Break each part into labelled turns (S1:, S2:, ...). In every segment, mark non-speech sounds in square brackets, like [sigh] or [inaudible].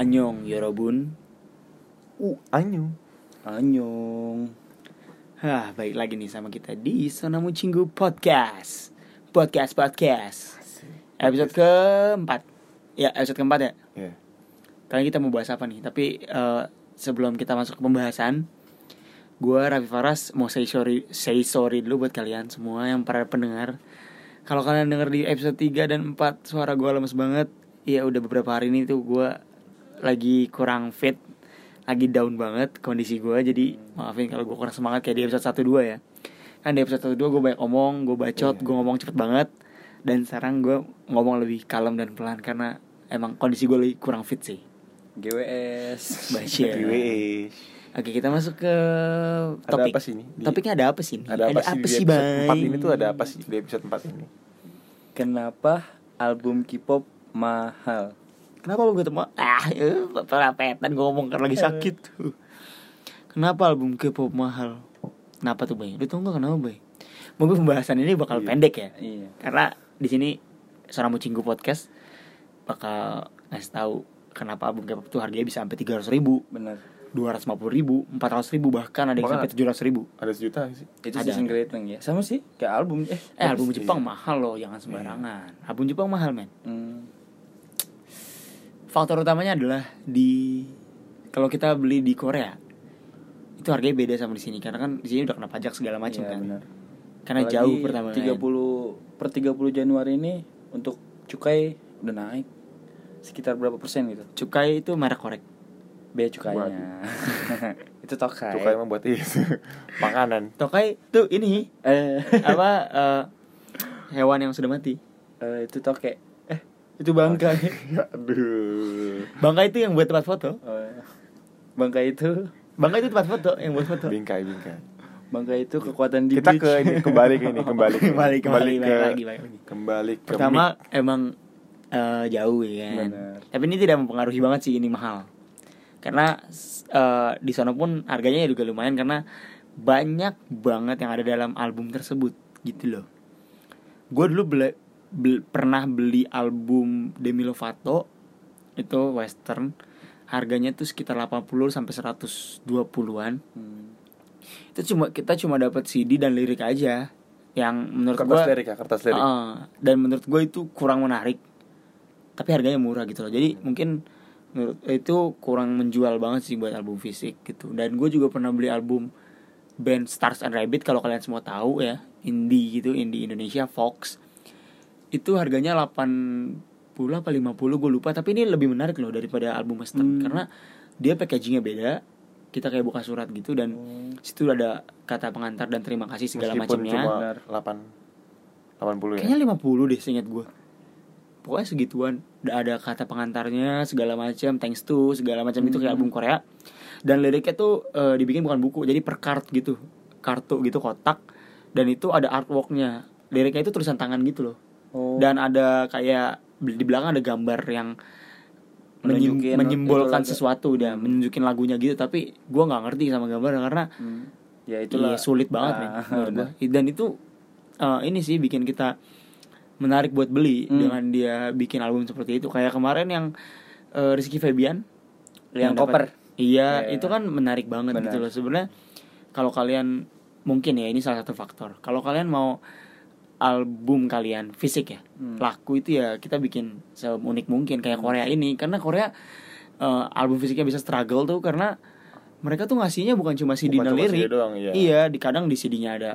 S1: Annyeong, Yorobun.
S2: Uh, anyu.
S1: Annyeong. Hah, baik lagi nih sama kita di Sonamu Cinggu Podcast. Podcast, podcast. Episode keempat. Ya, episode keempat ya.
S2: Ya.
S1: Kali kita mau bahas apa nih? Tapi eh, sebelum kita masuk ke pembahasan, gue Raffi Faras mau say sorry, say sorry dulu buat kalian semua yang para pendengar. Kalau kalian denger di episode 3 dan 4 suara gue lemes banget, ya udah beberapa hari ini tuh gue lagi kurang fit, lagi down banget kondisi gue. Jadi maafin kalau gue kurang semangat kayak di episode 1 2 ya. Kan di episode 1 2 gue banyak omong, gue bacot, gue ngomong cepet banget. Dan sekarang gue ngomong lebih kalem dan pelan karena emang kondisi gue lagi kurang fit sih.
S2: E.
S3: GWS.
S1: Basyir.
S2: Wih.
S1: Oke kita masuk ke
S2: Ada
S1: topik.
S2: apa sih ini? Di-
S1: Topiknya ada apa sih? ini?
S2: Ada apa sih di
S1: sih,
S2: episode
S1: Bang?
S2: 4 ini tuh ada apa sih di episode 4 ini?
S3: Kenapa album K-pop mahal?
S1: Kenapa lu ketemu? Ah, eh, perapetan gue ngomong karena lagi sakit. Kenapa album K-pop mahal? Kenapa tuh Bay? Lu tau gak kenapa Bay? Mungkin pembahasan ini bakal
S2: Iya.
S1: pendek ya.
S3: Iya.
S1: Karena di sini seorang Mucinggu podcast bakal ngasih tahu kenapa album K-pop tuh harganya bisa sampai 300 ribu,
S3: Benar.
S1: 250 ribu, 400 ribu bahkan ada yang
S2: Bahkan
S1: sampai 700 ribu.
S2: Ada sejuta sih.
S3: Itu
S1: Ada,
S3: season
S1: ada.
S3: rating ya. Sama sih kayak album eh.
S1: Eh album
S2: Iya.
S1: Jepang mahal loh, jangan sembarangan. Album Jepang mahal men.
S3: Hmm,
S1: Faktor utamanya adalah di kalau kita beli di Korea itu harganya beda sama di sini karena kan di sini udah kena pajak segala macam
S3: iya,
S1: kan.
S3: benar.
S1: Karena
S3: Apalagi
S1: jauh pertama. kan.
S3: 30 per 30 Januari ini untuk cukai udah naik sekitar berapa persen gitu?
S1: Cukai itu merek korek.
S3: Bea cukainya. [laughs] itu tokai.
S1: Nah,
S2: Tuh
S1: ya.
S2: kayak membuat itu [laughs] makanan.
S1: Tokai tuh
S3: [laughs]
S1: ini
S3: Eh,
S1: apa eh, hewan yang sudah mati.
S3: eh, itu toke. Eh, itu bangkai.
S2: Aduh.
S1: Bangkai itu yang buat tempat foto.
S3: Eh, bangkai itu
S1: Bangkai itu tempat foto yang buat foto.
S2: Bingkai, bingkai.
S3: bangkai itu kekuatan di
S2: Kita
S3: beach.
S2: ke ini kembali
S3: [laughs]
S2: ke ini, kembali
S1: [laughs]
S2: ke ini,
S1: Kembali, kembali,
S2: ke
S1: balik lagi, balik lagi.
S2: kembali ke
S1: Pertama emang eh, jauh ya kan.
S3: Benar.
S1: Tapi ini tidak mempengaruhi banget sih ini mahal. Karena s- eh, di sana pun harganya ya juga lumayan karena banyak banget yang ada dalam album tersebut gitu loh. Gue dulu beli, bel- pernah beli album Demi Lovato itu western harganya tuh sekitar 80 sampai 120-an.
S3: Hmm.
S1: Itu cuma kita cuma dapat CD dan lirik aja yang menurut Ah,
S2: kertas
S1: gue
S2: lirik ya, kertas lirik.
S1: Heeh. dan menurut gue itu kurang menarik. Tapi harganya murah gitu loh. Jadi mungkin menurut itu kurang menjual banget sih buat album fisik gitu. Dan gue juga pernah beli album band Stars and Rabbit kalau kalian semua tahu ya, indie gitu, indie Indonesia Fox. Itu harganya 80 apa 50 gue lupa, tapi ini lebih menarik loh daripada album western
S2: Hmm.
S1: karena dia packagingnya beda. Kita kayak buka surat gitu dan situ ada kata pengantar dan terima kasih segala
S2: Oh. Meskipun
S1: macamnya.
S2: cuma
S3: Benar.
S2: 8 80 ya.
S1: Kayaknya 50 deh seingat gue Pokoknya segituan Udah ada kata pengantarnya segala macam Thanks to segala macam itu kayak album Korea Dan liriknya tuh eh, dibikin bukan buku Jadi per card gitu Kartu gitu kotak Dan itu ada artworknya Liriknya itu tulisan tangan gitu loh
S3: Oh.
S1: Dan ada kayak Di belakang ada gambar yang menyim-
S3: Menunjukin
S1: menyimbolkan
S3: itu lagu.
S1: sesuatu udah menunjukin lagunya gitu tapi gua nggak ngerti sama gambar karena
S3: Hmm. Ya
S1: Iya,
S3: itulah.
S1: sulit banget men,
S3: Ah,
S1: menurut
S3: [laughs] benar.
S1: gua. Dan itu eh, ini sih bikin kita menarik buat beli
S3: Hmm.
S1: dengan dia bikin album seperti itu. Kayak kemarin yang eh, Rizky Febian
S3: Yang
S1: dapat-
S3: cover.
S1: Iya,
S3: Iya.
S1: itu kan menarik banget
S3: Benar.
S1: gitu loh sebenarnya. Kalau kalian mungkin ya ini salah satu faktor. Kalau kalian mau album kalian fisik ya
S3: Hmm.
S1: laku itu ya kita bikin seunik mungkin kayak Korea ini karena Korea eh, album fisiknya bisa struggle tuh karena mereka tuh ngasihnya bukan cuma CD
S2: Bukan
S1: dan
S2: cuma CD
S1: lirik
S2: doang, iya.
S1: iya di kadang di CD-nya ada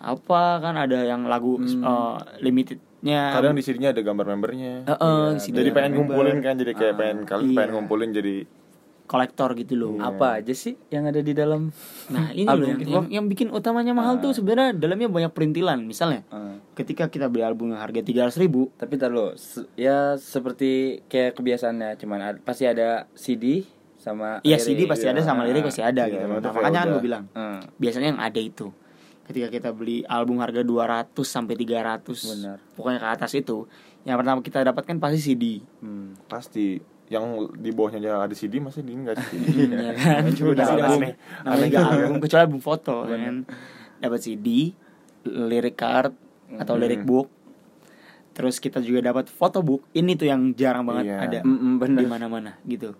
S1: apa kan ada yang lagu eh, limitednya
S2: Kadang di sininya ada gambar membernya.
S1: Eh, eh,
S2: Iya,
S1: CD
S2: jadi
S1: ada
S2: pengen
S1: member.
S2: ngumpulin kan jadi kayak pengen kalian
S1: iya.
S2: pengen ngumpulin jadi
S1: kolektor gitu loh
S3: Apa aja sih yang ada di dalam?
S1: Nah ini
S3: Hmm. Album
S1: loh yang,
S3: gitu.
S1: yang, yang bikin utamanya mahal tuh sebenarnya dalamnya banyak perintilan misalnya
S3: Ah.
S1: ketika kita beli album yang harga tiga ribu
S3: Tapi tar lo, se- ya seperti kayak kebiasaannya, cuman ad- pasti ada CD sama.
S1: Iya
S3: lirik.
S1: CD pasti ada sama
S3: Ah,
S1: lirik pasti ada
S2: Iya,
S1: gitu
S2: emang
S1: Nah,
S2: tuh kayak
S1: makanya kan
S2: udah.
S1: gue bilang
S3: ah.
S1: biasanya yang ada itu ketika kita beli album harga 200 sampai 300
S3: Benar.
S1: pokoknya ke atas itu yang pertama kita dapatkan pasti CD
S3: Hmm.
S2: pasti yang di bawahnya aja ada CD masih di enggak CD.
S1: [laughs] Iya kan?
S2: Udah
S1: Pasti
S2: album.
S1: dapat- namanya
S2: Iya
S1: juga album kecuali album foto kan dapat CD lirik card atau lirik
S2: Hmm.
S1: book terus kita juga dapat photo book ini tuh yang jarang banget
S2: Iya.
S1: ada
S3: Mm, mm, bener.
S1: di mana-mana gitu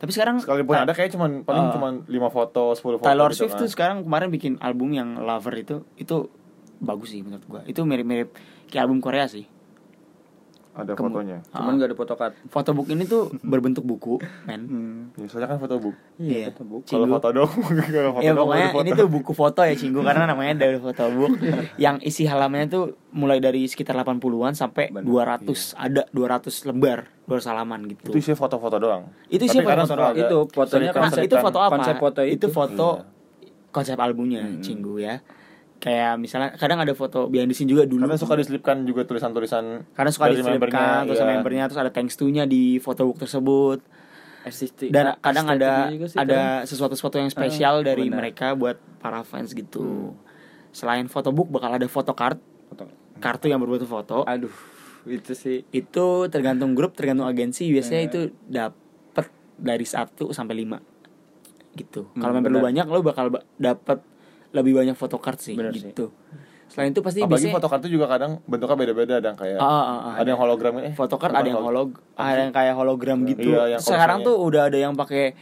S1: Tapi sekarang
S2: Sekalipun
S1: Ta-
S2: ada kayak cuman paling
S1: Ah.
S2: cuman 5 foto, 10 foto.
S1: Taylor
S2: gitu
S1: Swift
S2: kan.
S1: tuh sekarang kemarin bikin album yang Lover itu itu bagus sih menurut gua. Itu mirip-mirip kayak album Korea sih.
S2: ada
S1: kemu-
S2: fotonya.
S1: Ah.
S3: Cuman gak ada photocard.
S1: Photobook ini tuh berbentuk buku, men.
S3: Hmm.
S2: Ya, soalnya kan foto book.
S1: Iya.
S3: photobook.
S2: Kalau
S1: Cinggu.
S2: foto dong, [laughs] kalau foto
S1: Ya
S2: dong
S1: pokoknya
S2: ada foto.
S1: ini tuh buku foto ya Cinggu karena namanya dari
S2: [laughs]
S1: photobook yang isi halamannya tuh mulai dari sekitar 80-an sampai
S3: Benar,
S1: 200 ada 200 lembar 200 halaman gitu.
S2: iya. itu isinya foto-foto doang.
S1: Itu
S2: Tapi
S1: isinya
S2: kadang
S1: foto-foto,
S2: suka ada
S3: itu fotonya
S1: Nah,
S2: selitan-selitan.
S1: itu foto apa?
S3: konsep foto itu.
S1: foto
S2: Iya.
S1: konsep albumnya Cinggu ya. Kayak misalnya kadang ada foto behind the scene juga dulu.
S2: Karena suka diselipkan juga tulisan-tulisan
S1: Karena suka
S2: dari membernya,
S1: diselipkan terus
S2: iya.
S1: sama membernya terus ada thanks to-nya di photobook tersebut.
S3: Estetik.
S1: Dan kadang ada
S3: estetiknya juga sih, kadang.
S1: ada sesuatu-sesuatu yang spesial
S3: Ah,
S1: dari
S3: benar.
S1: mereka buat para fans gitu. Selain photobook bakal ada photocard,
S3: Foto-
S1: kartu yang berbentuk foto.
S3: Aduh, itu sih
S1: Itu tergantung grup, tergantung agensi, biasanya itu dapat dari 1 sampai 5. Gitu.
S3: Hmm,
S1: Kalau member lu
S3: benar.
S1: banyak lu bakal ba- dapat lebih banyak photocard sih
S3: Benar sih.
S1: gitu. Selain itu pasti
S2: Apalagi
S1: biasanya
S2: foto kartu juga kadang bentuknya beda-beda, ada yang kayak
S1: Ah, ah, ah,
S2: ada yang hologram eh.
S1: photocard
S2: bukan
S1: ada yang holog ada yang kayak hologram gitu.
S2: Iya, yang
S1: Sekarang
S2: kalau misalnya-
S1: tuh udah ada yang pakai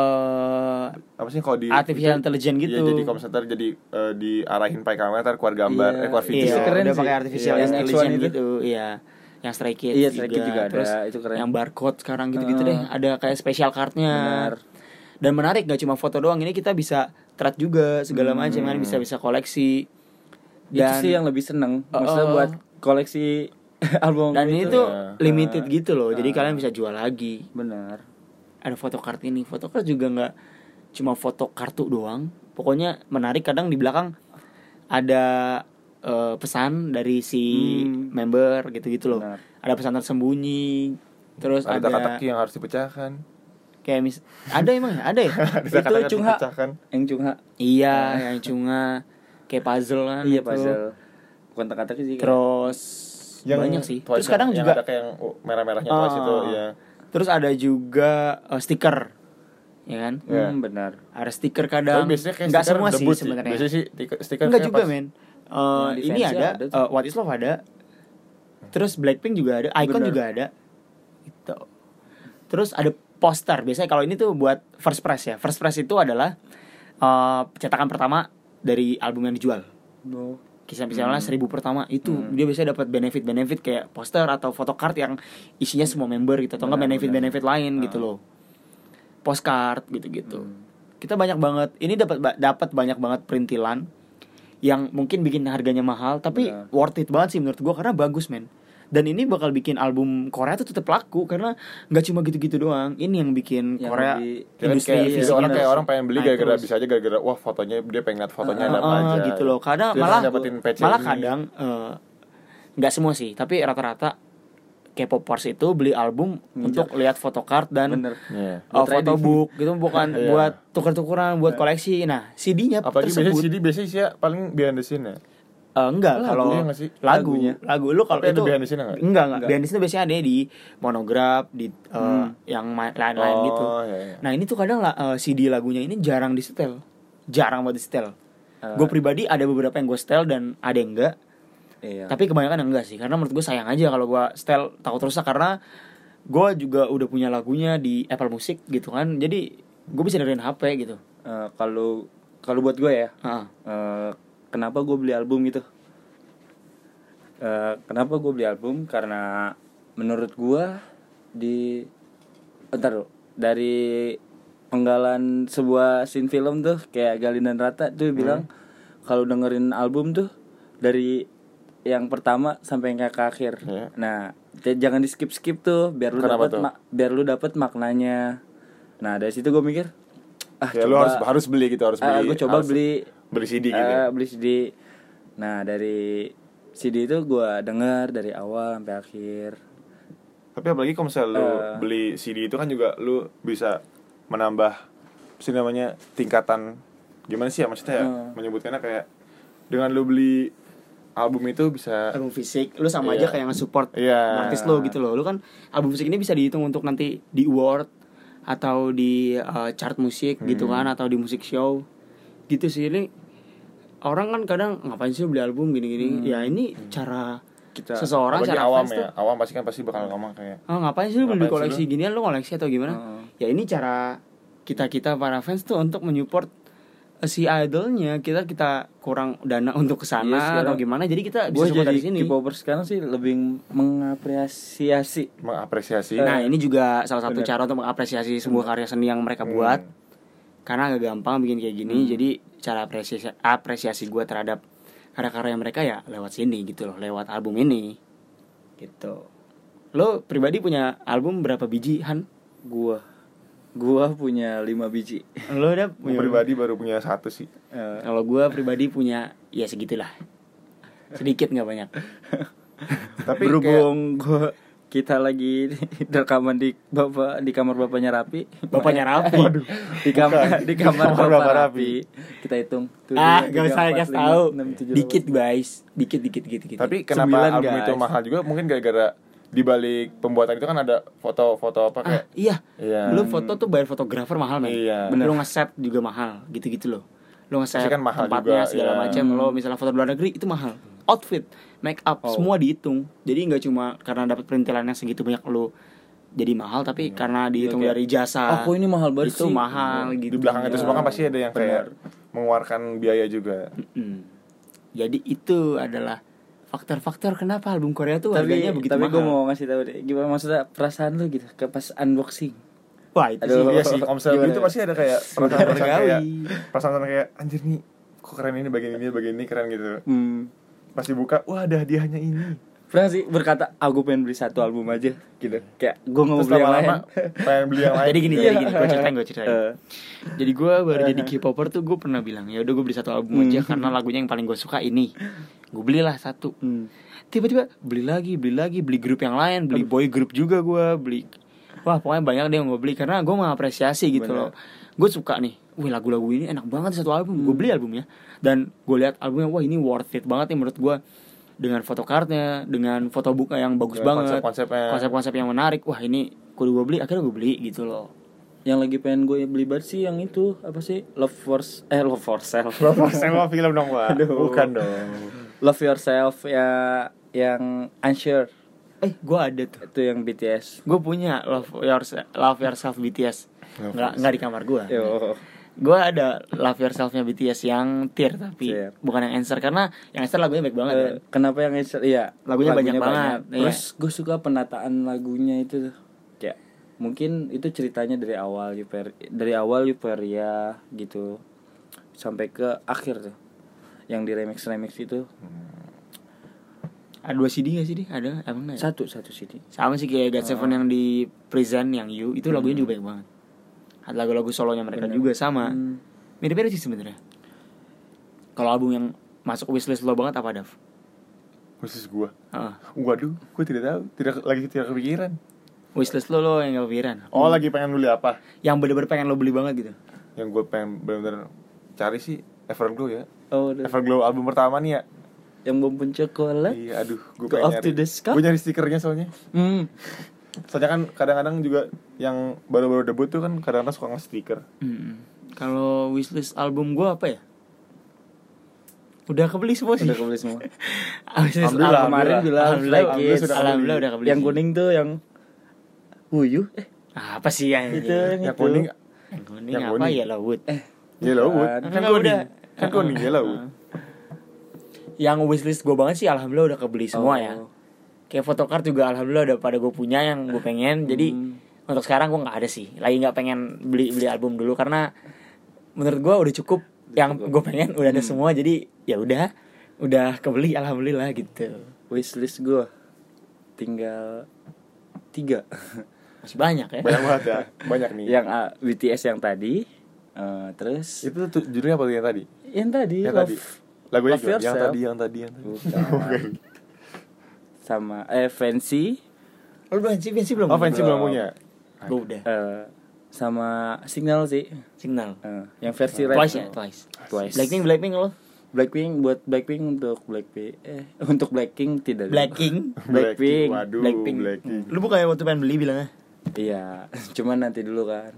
S1: eh
S2: apa sih kalau di
S1: artificial
S2: itu-
S1: intelligence gitu.
S2: Iya, jadi kalau misalnya ntar jadi eh, diarahin pakai kamera ntar keluar gambar,
S3: Iya,
S2: eh keluar video.
S1: Iya,
S3: Itu keren
S1: udah
S3: sih.
S1: pakai artificial
S3: Iya, yang
S1: intelligence
S3: X1 itu.
S1: gitu, iya. Yang Stray Kids
S3: Iya, Stray Kids juga ada,
S1: Terus
S3: itu keren.
S1: Yang barcode sekarang gitu-gitu
S3: Heeh.
S1: deh, ada kayak special cardnya.
S3: Benar.
S1: Dan menarik gak cuma foto doang, ini kita bisa trad juga segala macam kan bisa bisa koleksi.
S3: Hmm. itu
S1: Dan
S3: sih yang lebih seneng. Maksudnya
S1: Oh.
S3: buat koleksi [laughs] album
S1: dan ini tuh
S3: ya.
S2: Iya.
S1: limited gitu loh, jadi kalian bisa jual lagi.
S3: benar.
S1: Ada photocard ini, photocard juga nggak cuma foto kartu doang. Pokoknya menarik kadang di belakang ada eh, pesan dari si
S3: Hmm.
S1: member gitu-gitu loh.
S3: Benar.
S1: ada pesan tersembunyi terus
S2: Ada
S1: ada,
S2: teka-teki yang harus dipecahkan.
S1: kayak mis ada emang ya? ada ya
S2: [laughs] Ada Ah.
S3: Itu
S2: teka-teki yang
S3: Cungha.
S2: dipecahkan.
S3: Yang Cungha.
S1: iya yang cunga kayak puzzle kan
S3: Iya,
S1: gitu.
S3: puzzle. Bukan teka-teki sih. kayak-
S1: terus banyak sih
S2: Twice
S1: terus kadang
S2: ya, yang
S1: juga
S2: ada kayak yang oh, merah-merahnya
S1: Ah.
S2: twice itu ya.
S1: terus ada juga eh, stiker ya kan
S2: Iya.
S3: Hmm, benar.
S1: ada stiker
S2: Tapi
S1: kadang
S2: biasanya kayak
S1: nggak
S2: stiker
S1: semua sih
S2: debut
S1: sebenarnya
S2: Biasanya sih tik- stiker
S1: enggak
S2: kayak
S1: juga
S2: pas- Nah,
S1: men Eh,
S3: Yang di
S1: ini
S2: ya
S3: fansnya
S1: ada,
S3: ada tuh.
S1: eh, What Is Love ada terus Blackpink juga ada Icon
S3: Bener.
S1: juga ada gitu terus ada poster biasanya kalau ini tuh buat first press ya first press itu adalah eh, cetakan pertama dari album yang dijual
S3: Duh.
S1: kisah
S2: Hmm.
S1: misalnya seribu pertama itu dia biasanya dapat benefit benefit kayak poster atau photocard yang isinya semua member gitu atau enggak
S3: Benar,
S1: benefit benefit lain
S2: Ah.
S1: gitu loh postcard gitu gitu
S2: Hmm.
S1: kita banyak banget ini dapat ba- dapat banyak banget perintilan yang mungkin bikin harganya mahal tapi
S3: Benar.
S1: worth it banget sih menurut gua karena bagus men dan ini bakal bikin album Korea tuh tetap laku karena nggak cuma gitu-gitu doang ini yang bikin
S3: Yang
S1: Korea
S3: lebih-
S2: Jadi
S1: industri
S2: kayak
S1: visi
S2: jadi orang
S1: bener.
S2: kayak orang pengen beli
S1: Nah,
S2: gara-gara
S1: terus.
S2: bisa aja gara-gara wah fotonya dia pengen lihat fotonya ada apa
S1: Heeh,
S2: aja.
S1: gitu loh kadang
S2: Dia
S1: malah
S2: pengen dapetin patch
S1: malah
S2: ini.
S1: kadang eh, nggak semua sih tapi rata-rata K-popers itu beli album untuk lihat photocard dan
S3: Benar.
S2: Iya.
S1: eh,
S3: Buat trading.
S1: photobook gitu bukan
S2: Iya.
S1: buat tuker-tukeran buat koleksi nah CD-nya
S2: Apalagi biasanya
S1: tersebut
S2: CD biasanya sih ya paling behind the scene ya.
S1: eh, enggak
S2: Lagu,
S1: kalau
S2: iya nggak sih?
S1: lagu
S3: Lagunya.
S1: lagu lu kalau
S2: Tapi ada
S1: itu
S2: behind the scene nggak?
S1: enggak enggak
S3: Enggak.
S1: behind the scene biasanya ada di monograf di eh, yang ma- lain-lain gitu
S2: Hmm. Oh, iya, iya.
S1: nah ini tuh kadang lah, eh, CD lagunya ini jarang di setel jarang banget di setel
S3: Eh.
S1: gue pribadi ada beberapa yang gue setel dan ada yang enggak
S2: Ya.
S3: Iya.
S1: Tapi kebanyakan yang enggak sih, karena menurut gue sayang aja kalau gue setel takut rusak karena gue juga udah punya lagunya di Apple Music gitu kan, jadi gue bisa dengerin HP gitu.
S3: Eh, kalau kalau buat gue ya,
S1: Heeh.
S3: eh, kenapa gue beli album gitu? Eh, kenapa gue beli album? Karena menurut gue di entar dulu, dari penggalan sebuah scene film tuh kayak Galin dan Rata tuh
S2: Hmm.
S3: bilang kalau dengerin album tuh dari yang pertama sampai yang ke akhir.
S2: Iya.
S3: Nah, j- jangan di skip skip tuh biar lu
S2: Kenapa
S3: dapat
S2: tuh?
S3: ma- biar lu dapat maknanya. Nah, dari situ gue mikir ah
S2: Ya, lu
S3: coba-
S2: harus harus beli gitu harus beli.
S3: Ah, gua coba
S2: harus
S3: beli
S2: beli CD gitu.
S3: eh, beli CD. Nah, dari CD itu gua denger dari awal sampai akhir.
S2: Tapi apalagi kalau misalnya
S3: Ah.
S2: lu beli CD itu kan juga lu bisa menambah apa sih namanya tingkatan gimana sih ya maksudnya ya?
S3: Ah.
S2: menyebutkannya kayak dengan lu beli album itu bisa
S1: Album fisik, lu sama aja
S2: Iya.
S1: kayak nge-support
S2: Iya.
S1: artis lo gitu loh. Lu kan album musik ini bisa dihitung untuk nanti di award atau di uh, chart musik gitu
S2: Hmm.
S1: kan atau di musik show. Gitu sih ini orang kan kadang ngapain sih beli album gini-gini. Ya ini cara
S2: Hmm. kita
S1: Seseorang
S2: apalagi
S1: secara
S2: awam
S1: fans
S2: ya awam pasti kan pasti bakal ngomong kayak
S1: ah ngapain sih lu beli
S2: Ngapain sih
S1: koleksi
S2: lu? Hmm.
S1: ginian lu koleksi atau gimana
S3: Heeh.
S1: ya ini cara kita kita para fans tuh untuk menyupport eh, si idolnya kita kita kurang dana untuk
S3: Iya,
S1: kesana
S3: sekarang
S1: atau gimana jadi kita
S3: gue
S1: bisa support
S3: jadi
S1: dari sini
S3: K-popers sekarang sih lebih mengapresiasi
S2: mengapresiasi
S1: nah ini juga salah satu
S3: Bener.
S1: cara untuk mengapresiasi sebuah karya seni yang
S2: Hmm.
S1: mereka buat karena agak gampang bikin kayak gini jadi cara apresiasi apresiasi gue terhadap karya-karya mereka ya lewat sini gitu loh lewat album ini gitu lo pribadi punya album berapa biji Han
S3: gua gua punya 5 biji
S1: lo udah
S2: Gua
S3: iya.
S1: punya
S2: pribadi baru punya satu
S3: [laughs]
S2: sih
S3: Eh,
S1: kalau gue pribadi punya ya segitulah sedikit nggak banyak
S2: tapi
S3: berhubung gua kita lagi rekaman di bapak di kamar bapaknya Rapi
S1: bapaknya rapi
S3: di kamar di kamar
S2: Kamar
S3: bapak
S2: Bapak
S3: Rapi
S2: Rapi.
S3: kita hitung
S1: ah gak usah kasih tahu dikit guys dikit dikit dikit dikit
S2: tapi
S3: Sembilan,
S2: kenapa album
S3: guys.
S2: itu mahal juga mungkin gara-gara di balik pembuatan itu kan ada foto-foto apa
S1: ah
S2: kayak
S1: iya
S2: Iya.
S1: lo foto tuh bayar fotografer mahal men
S2: Iya.
S1: lo ngeset juga mahal gitu gitu loh lo ngeset
S2: Pasti kan mahal
S1: tempatnya
S2: juga,
S1: segala
S2: iya.
S1: macam lo misalnya foto luar negeri itu mahal outfit make up
S2: Oh.
S1: semua dihitung jadi nggak cuma karena dapat perintilannya segitu banyak lo jadi mahal tapi karena dihitung
S3: Iya, kayak,
S1: dari jasa
S3: "Ah, kok ini mahal banget
S1: itu
S3: sih?"
S1: mahal gitu
S2: di belakang itu
S1: Iya.
S2: semua kan pasti ada yang kayak mengeluarkan biaya juga
S1: Mm. Jadi itu adalah faktor-faktor kenapa album Korea tuh
S3: tapi
S1: harganya begitu
S3: tapi
S1: mahal.
S3: gue mau ngasih tahu deh gimana maksudnya perasaan lu gitu ke pas unboxing
S1: Wah itu
S3: Aduh.
S1: sih.
S2: iya sih omsel
S3: Gimana?
S2: itu pasti ada kayak perasaan-perasaan
S1: Surgawi.
S2: kayak perasaan kayak anjir nih kok keren ini bagian ini bagian ini keren gitu
S3: hmm.
S2: pas dibuka wah ada hadiahnya ini
S3: pernah sih berkata aku pengen beli satu album aja gitu kayak gue nggak mau
S2: terus
S3: beli yang lain
S2: lama-lama pengen beli
S1: [laughs]
S2: yang lain
S1: Jadi gini,
S3: Iya.
S1: jadi gini, gue ceritain, gue ceritain.
S3: Eh.
S1: Jadi gue baru jadi K-popper tuh gue pernah bilang ya udah gue beli satu album aja karena lagunya yang paling gue suka ini. Gue belilah satu.
S3: Hmm.
S1: Tiba-tiba beli lagi, beli lagi, beli grup yang lain, beli boy group juga gue beli. Wah pokoknya banyak deh yang gue beli karena gue mengapresiasi gitu loh.
S2: Bener.
S1: Gue suka nih. Wih lagu-lagu ini enak banget satu album. Gue beli albumnya dan gue lihat albumnya wah ini worth it banget nih menurut gue dengan foto kartnya, dengan foto buka yang bagus
S2: Dengan
S1: banget,
S2: konsep-konsepnya.
S1: konsep-konsep yang menarik. Wah ini kudu gue beli, akhirnya gue beli gitu loh.
S3: yang lagi pengen gue beli banget sih yang itu apa sih love force eh love for self
S2: Bapak Iya. sewa film dong pak Bukan dong
S3: love yourself ya yang unsure
S1: Eh gue ada tuh.
S3: itu yang BTS
S1: Gue punya Love Yourself, Love Yourself BTS.
S2: Love
S1: Nggak, nggak di kamar gue.
S3: yo
S1: Gue ada Love Yourselfnya BTS yang tier tapi
S3: Tier.
S1: bukan yang answer karena yang answer lagunya baik banget.
S3: Eh,
S1: kan.
S3: kenapa yang Unsure? iya
S1: Lagunya banyak banget, iya.
S3: terus gue suka penataan lagunya itu tuh kayak mungkin itu ceritanya dari awal Euphor- dari awal Euphoria gitu sampai ke akhir tuh yang di remix remix itu
S1: Ada dua CD gak sih di? Ada emang nggak ya?
S3: satu satu CD
S1: Sama sih kayak God
S3: Ah.
S1: Seven yang di Present yang You itu
S3: Hmm.
S1: lagunya juga baik banget. Ada lagu-lagu solonya mereka juga sama.
S3: Hmm.
S1: Mirip-mirip sih sebenarnya. Kalau album yang masuk wishlist lo banget apa Dav? Ah,
S2: Khusus gua
S1: Heeh.
S2: Waduh, gue tidak tahu, tidak lagi tidak kepikiran.
S1: Wishlist lo lo yang kepikiran.
S2: Oh, lagi pengen beli apa?
S1: Yang bener-bener pengen lo beli banget gitu.
S2: Yang gue pengen benar-benar cari sih Everglow ya.
S3: oh udah.
S2: Everglow album pertama nih ya.
S3: yang bom pun coklat
S2: Iya, aduh, gue
S3: Go
S2: pengen
S3: up to the sky.
S2: Gue nyari stikernya soalnya.
S3: Hmm.
S2: Soalnya kan kadang-kadang juga yang baru-baru debut tuh kan kadang-kadang suka nge stiker.
S1: Mm-mm. Hmm. Kalau wishlist album gue apa ya? Udah kebeli semua sih.
S3: udah kebeli semua
S1: [laughs] Wishlist
S2: Alhamdulillah,
S1: album.
S3: kemarin bilang
S1: Alhamdulillah,
S3: Fly
S1: alhamdulillah
S3: Kids.
S1: sudah alhamdulillah udah kebeli. Nah,
S3: yang kuning tuh yang Wuyuh eh
S1: Apa sih yang
S3: itu yang,
S2: Yang
S3: itu.
S2: kuning
S1: Yang kuning
S2: Yang
S1: apa
S2: kuning.
S1: ya Wood? Eh,
S2: yellow wood.
S3: Bukan.
S2: Kan
S1: Enggak,
S2: kuning.
S1: udah.
S2: Kan
S3: [laughs]
S2: kuning yellow.
S1: yang wishlist gue banget sih alhamdulillah udah kebeli semua ya.
S3: Oh.
S1: Kayak photocard juga alhamdulillah udah pada gue punya yang gue pengen. Jadi untuk sekarang gue nggak ada sih. Lagi nggak pengen beli beli album dulu karena menurut gue udah cukup yang gue pengen udah ada semua. Jadi ya udah udah kebeli alhamdulillah gitu.
S3: wishlist gue tinggal tiga
S1: Masih banyak ya.
S2: Banyak banget ya. Banyak nih.
S3: yang ah, BTS yang tadi eh, terus
S2: Itu tuh judulnya apa tuh yang tadi?
S3: yang tadi
S2: Yang
S3: love
S2: tadi. Lagunya
S3: Iya, Love
S2: gimana? yang
S3: Yourself.
S2: tadi, yang tadi, yang tadi.
S3: Bukan.
S2: [laughs]
S3: sama eh fancy
S1: Lu fancy fancy belum?
S2: Oh, Fancy belum punya.
S1: Gue udah.
S3: eh, sama signal sih
S1: Signal.
S3: Eh, yang versi red
S1: Twice ya, twice.
S3: Twice.
S1: Blackpink Blackpink lo?
S3: Blackpink buat Blackpink untuk Blackpink eh untuk Blackpink tidak dulu.
S1: Blackpink.
S3: Blackpink.
S2: Waduh,
S1: Blackpink.
S2: Blackpink.
S1: Lu bukan yang waktu pengen beli bilangnya?
S3: Iya, [laughs] cuman nanti dulu kan.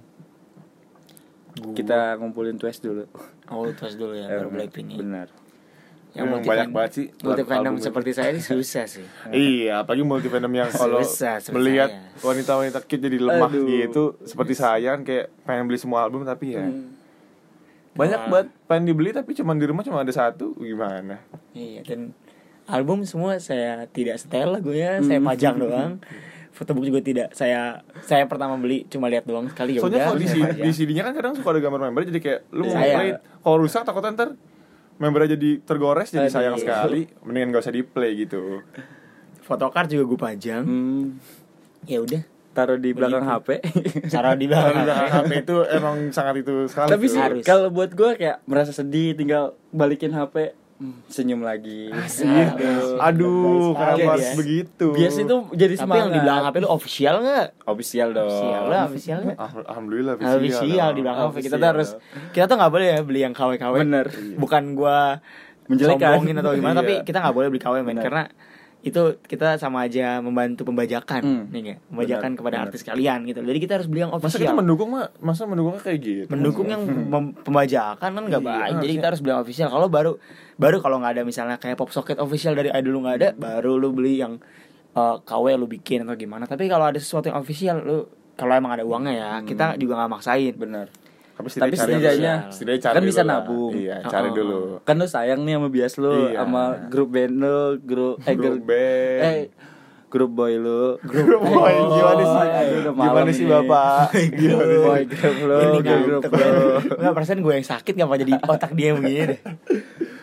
S3: Kita ngumpulin Twice dulu.
S1: Oh, Twice dulu ya, baru Blackpink ya.
S3: Benar.
S1: Ya
S2: Yang
S1: multi
S2: Hmm, banyak
S1: fan-
S2: banget sih
S1: multi
S2: lagu
S1: fandom
S2: album
S1: seperti saya ini susah sih
S2: [laughs] Iya, apalagi multi fandom yang kalau
S1: Susah, susah,
S2: melihat
S1: ya.
S2: wanita-wanita cute jadi lemah
S3: Aduh.
S2: gitu, seperti saya kan kayak pengen beli semua album tapi ya banyak
S1: Wah.
S2: banget pengen dibeli tapi cuma di rumah cuma ada satu, gimana?
S1: iya dan album semua saya tidak setel
S2: Hmm.
S1: lagunya saya pajang doang fotobook juga tidak saya saya pertama beli cuma lihat doang sekali ya udah
S2: Soalnya kalau di,
S1: saya
S2: CD
S1: pajang.
S2: di CD-nya kan kadang suka ada gambar member jadi kayak lu mau
S1: Saya.
S2: play kalau rusak takutnya ntar member jadi tergores jadi
S1: Aduh.
S2: sayang sekali, mendingan gak usah di play gitu.
S1: photocard juga gue pajang
S3: Hmm,
S1: ya udah
S3: taruh di belakang [laughs] HP.
S1: cara di
S2: [laughs] Kalau
S1: belakang
S2: belakang HP itu emang sangat itu sekali.
S3: Tapi
S2: tuh.
S3: sih
S1: Harus.
S3: kalau buat gua kayak merasa sedih tinggal balikin HP hmm, senyum lagi.
S1: Iya. Guys,
S2: Aduh, kenapa
S1: guys.
S2: harus begitu?
S3: Biasanya tuh jadi
S1: tapi yang
S3: semangat.
S1: di belakang HP lu official nggak
S3: [laughs] official dong.
S1: official lah official nggak
S2: Ah, Alhamdulillah
S1: official di belakang HP kita tuh
S3: Official.
S1: harus kita tuh nggak boleh ya beli yang KW KW
S3: Bener.
S1: bukan gua
S3: Menjelekan.
S1: sombongin atau gimana
S2: Iya.
S1: tapi kita nggak boleh beli KW men
S3: Bener.
S1: karena itu kita sama aja membantu pembajakan
S3: Hmm.
S1: nih nggak? membajakan
S3: Bener,
S1: kepada
S3: bener.
S1: artis kalian gitu jadi kita harus beli yang
S2: Masa
S3: Iya.
S1: official
S2: kita mendukung mah, masa mendukungnya kayak gitu.
S1: mendukung yang mem-
S3: Hmm.
S1: pembajakan kan nggak
S2: Iya,
S1: baik jadi
S2: harusnya.
S1: kita harus beli yang official kalau baru baru kalau nggak ada misalnya kayak pop socket official dari idol lu nggak ada baru lu beli yang eh, KW lu bikin atau gimana tapi kalau ada sesuatu yang official lu kalau emang ada uangnya ya
S3: Hmm.
S1: kita juga nggak maksain
S3: Bener.
S2: Tapi cari
S3: Tapi
S2: dulu.
S3: setidaknya-
S2: setidaknya cari
S3: kan bisa
S2: dulu lah.
S3: nabung.
S2: Iya, cari
S1: Oh.
S2: dulu.
S3: Kan lu sayang nih sama bias lu,
S2: Iya.
S3: sama grup band lu, grup eh
S2: Grup
S3: grup-
S2: band.
S3: Eh, grup boy lu. Oh,
S2: Grup boy, gimana sih?
S3: aduh, udah malam
S2: Gimana sih,
S3: ini. [laughs]
S2: Bapak?
S3: Grup
S2: Gimana
S3: boy,
S2: sih?
S3: grup lu,
S1: Iya, Ini
S3: grup-
S1: ngantuk
S3: grup
S1: banget.
S3: lu.
S1: Nggak perasaan gue yang sakit Kenapa jadi otak dia yang begini deh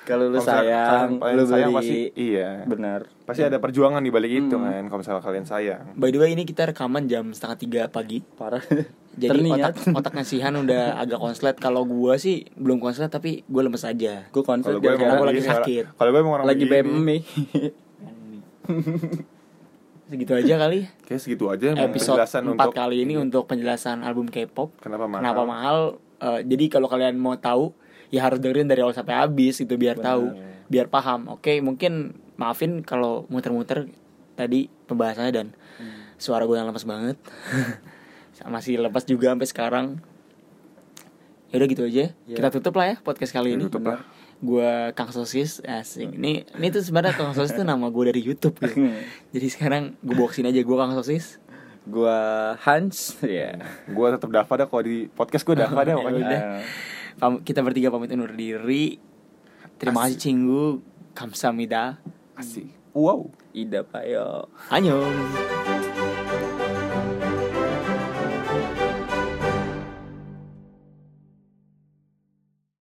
S3: Kalau lu
S2: Kalau misalnya
S3: sayang,
S2: kalian
S3: lu
S2: sayang
S3: beli. Hmm.
S2: pasti iya.
S3: Benar.
S2: Pasti ada perjuangan di balik itu kan kalau misalnya kalian sayang.
S1: By the way ini kita rekaman jam setengah tiga pagi
S3: Parah. [laughs]
S1: Jadi
S3: Terniat.
S1: otak otak ngasihan udah agak konslet Kalau gue sih belum konslet tapi gue lemes aja
S3: gue konflik
S2: Kalau gue emang
S1: Aku
S2: orang
S1: lagi
S2: begini,
S1: sakit.
S2: orang- Kalau gue emang orang
S3: lagi
S2: begini.
S3: BM nih.
S1: Segitu aja kali
S2: Kayak segitu aja emang
S1: episode
S2: penjelasan
S1: 4
S2: untuk
S1: kali ini untuk penjelasan album K-pop
S2: Kenapa mahal?
S1: Kenapa mahal Eh, Jadi kalau kalian mau tahu ya harus dengerin dari awal sampai habis gitu biar tahu biar paham Oke mungkin maafin kalau muter-muter tadi pembahasannya dan
S2: Hmm.
S1: suara gue yang lepas banget [laughs] masih lepas juga sampai sekarang ya udah gitu aja
S3: Ya.
S1: kita tutup lah ya podcast kali
S2: Ya,
S1: ini
S2: Iya. tutup lah.
S1: gue Kang Sosis asing ini ini tuh sebenarnya Kang Sosis tuh nama gue dari YouTube
S2: [laughs]
S1: gitu. jadi sekarang gue boxin aja gue Kang Sosis
S3: Gua Hans, ya.
S2: Gue tetap Iya. Dava dah kalau di podcast gue Dava
S3: [laughs]
S2: dah pokoknya.
S3: Iya.
S1: udah. Pam- kita bertiga pamit undur diri terima kasih Cinggu kamsamida
S2: Asik. Wow.
S3: Ida Payo.
S1: annyeong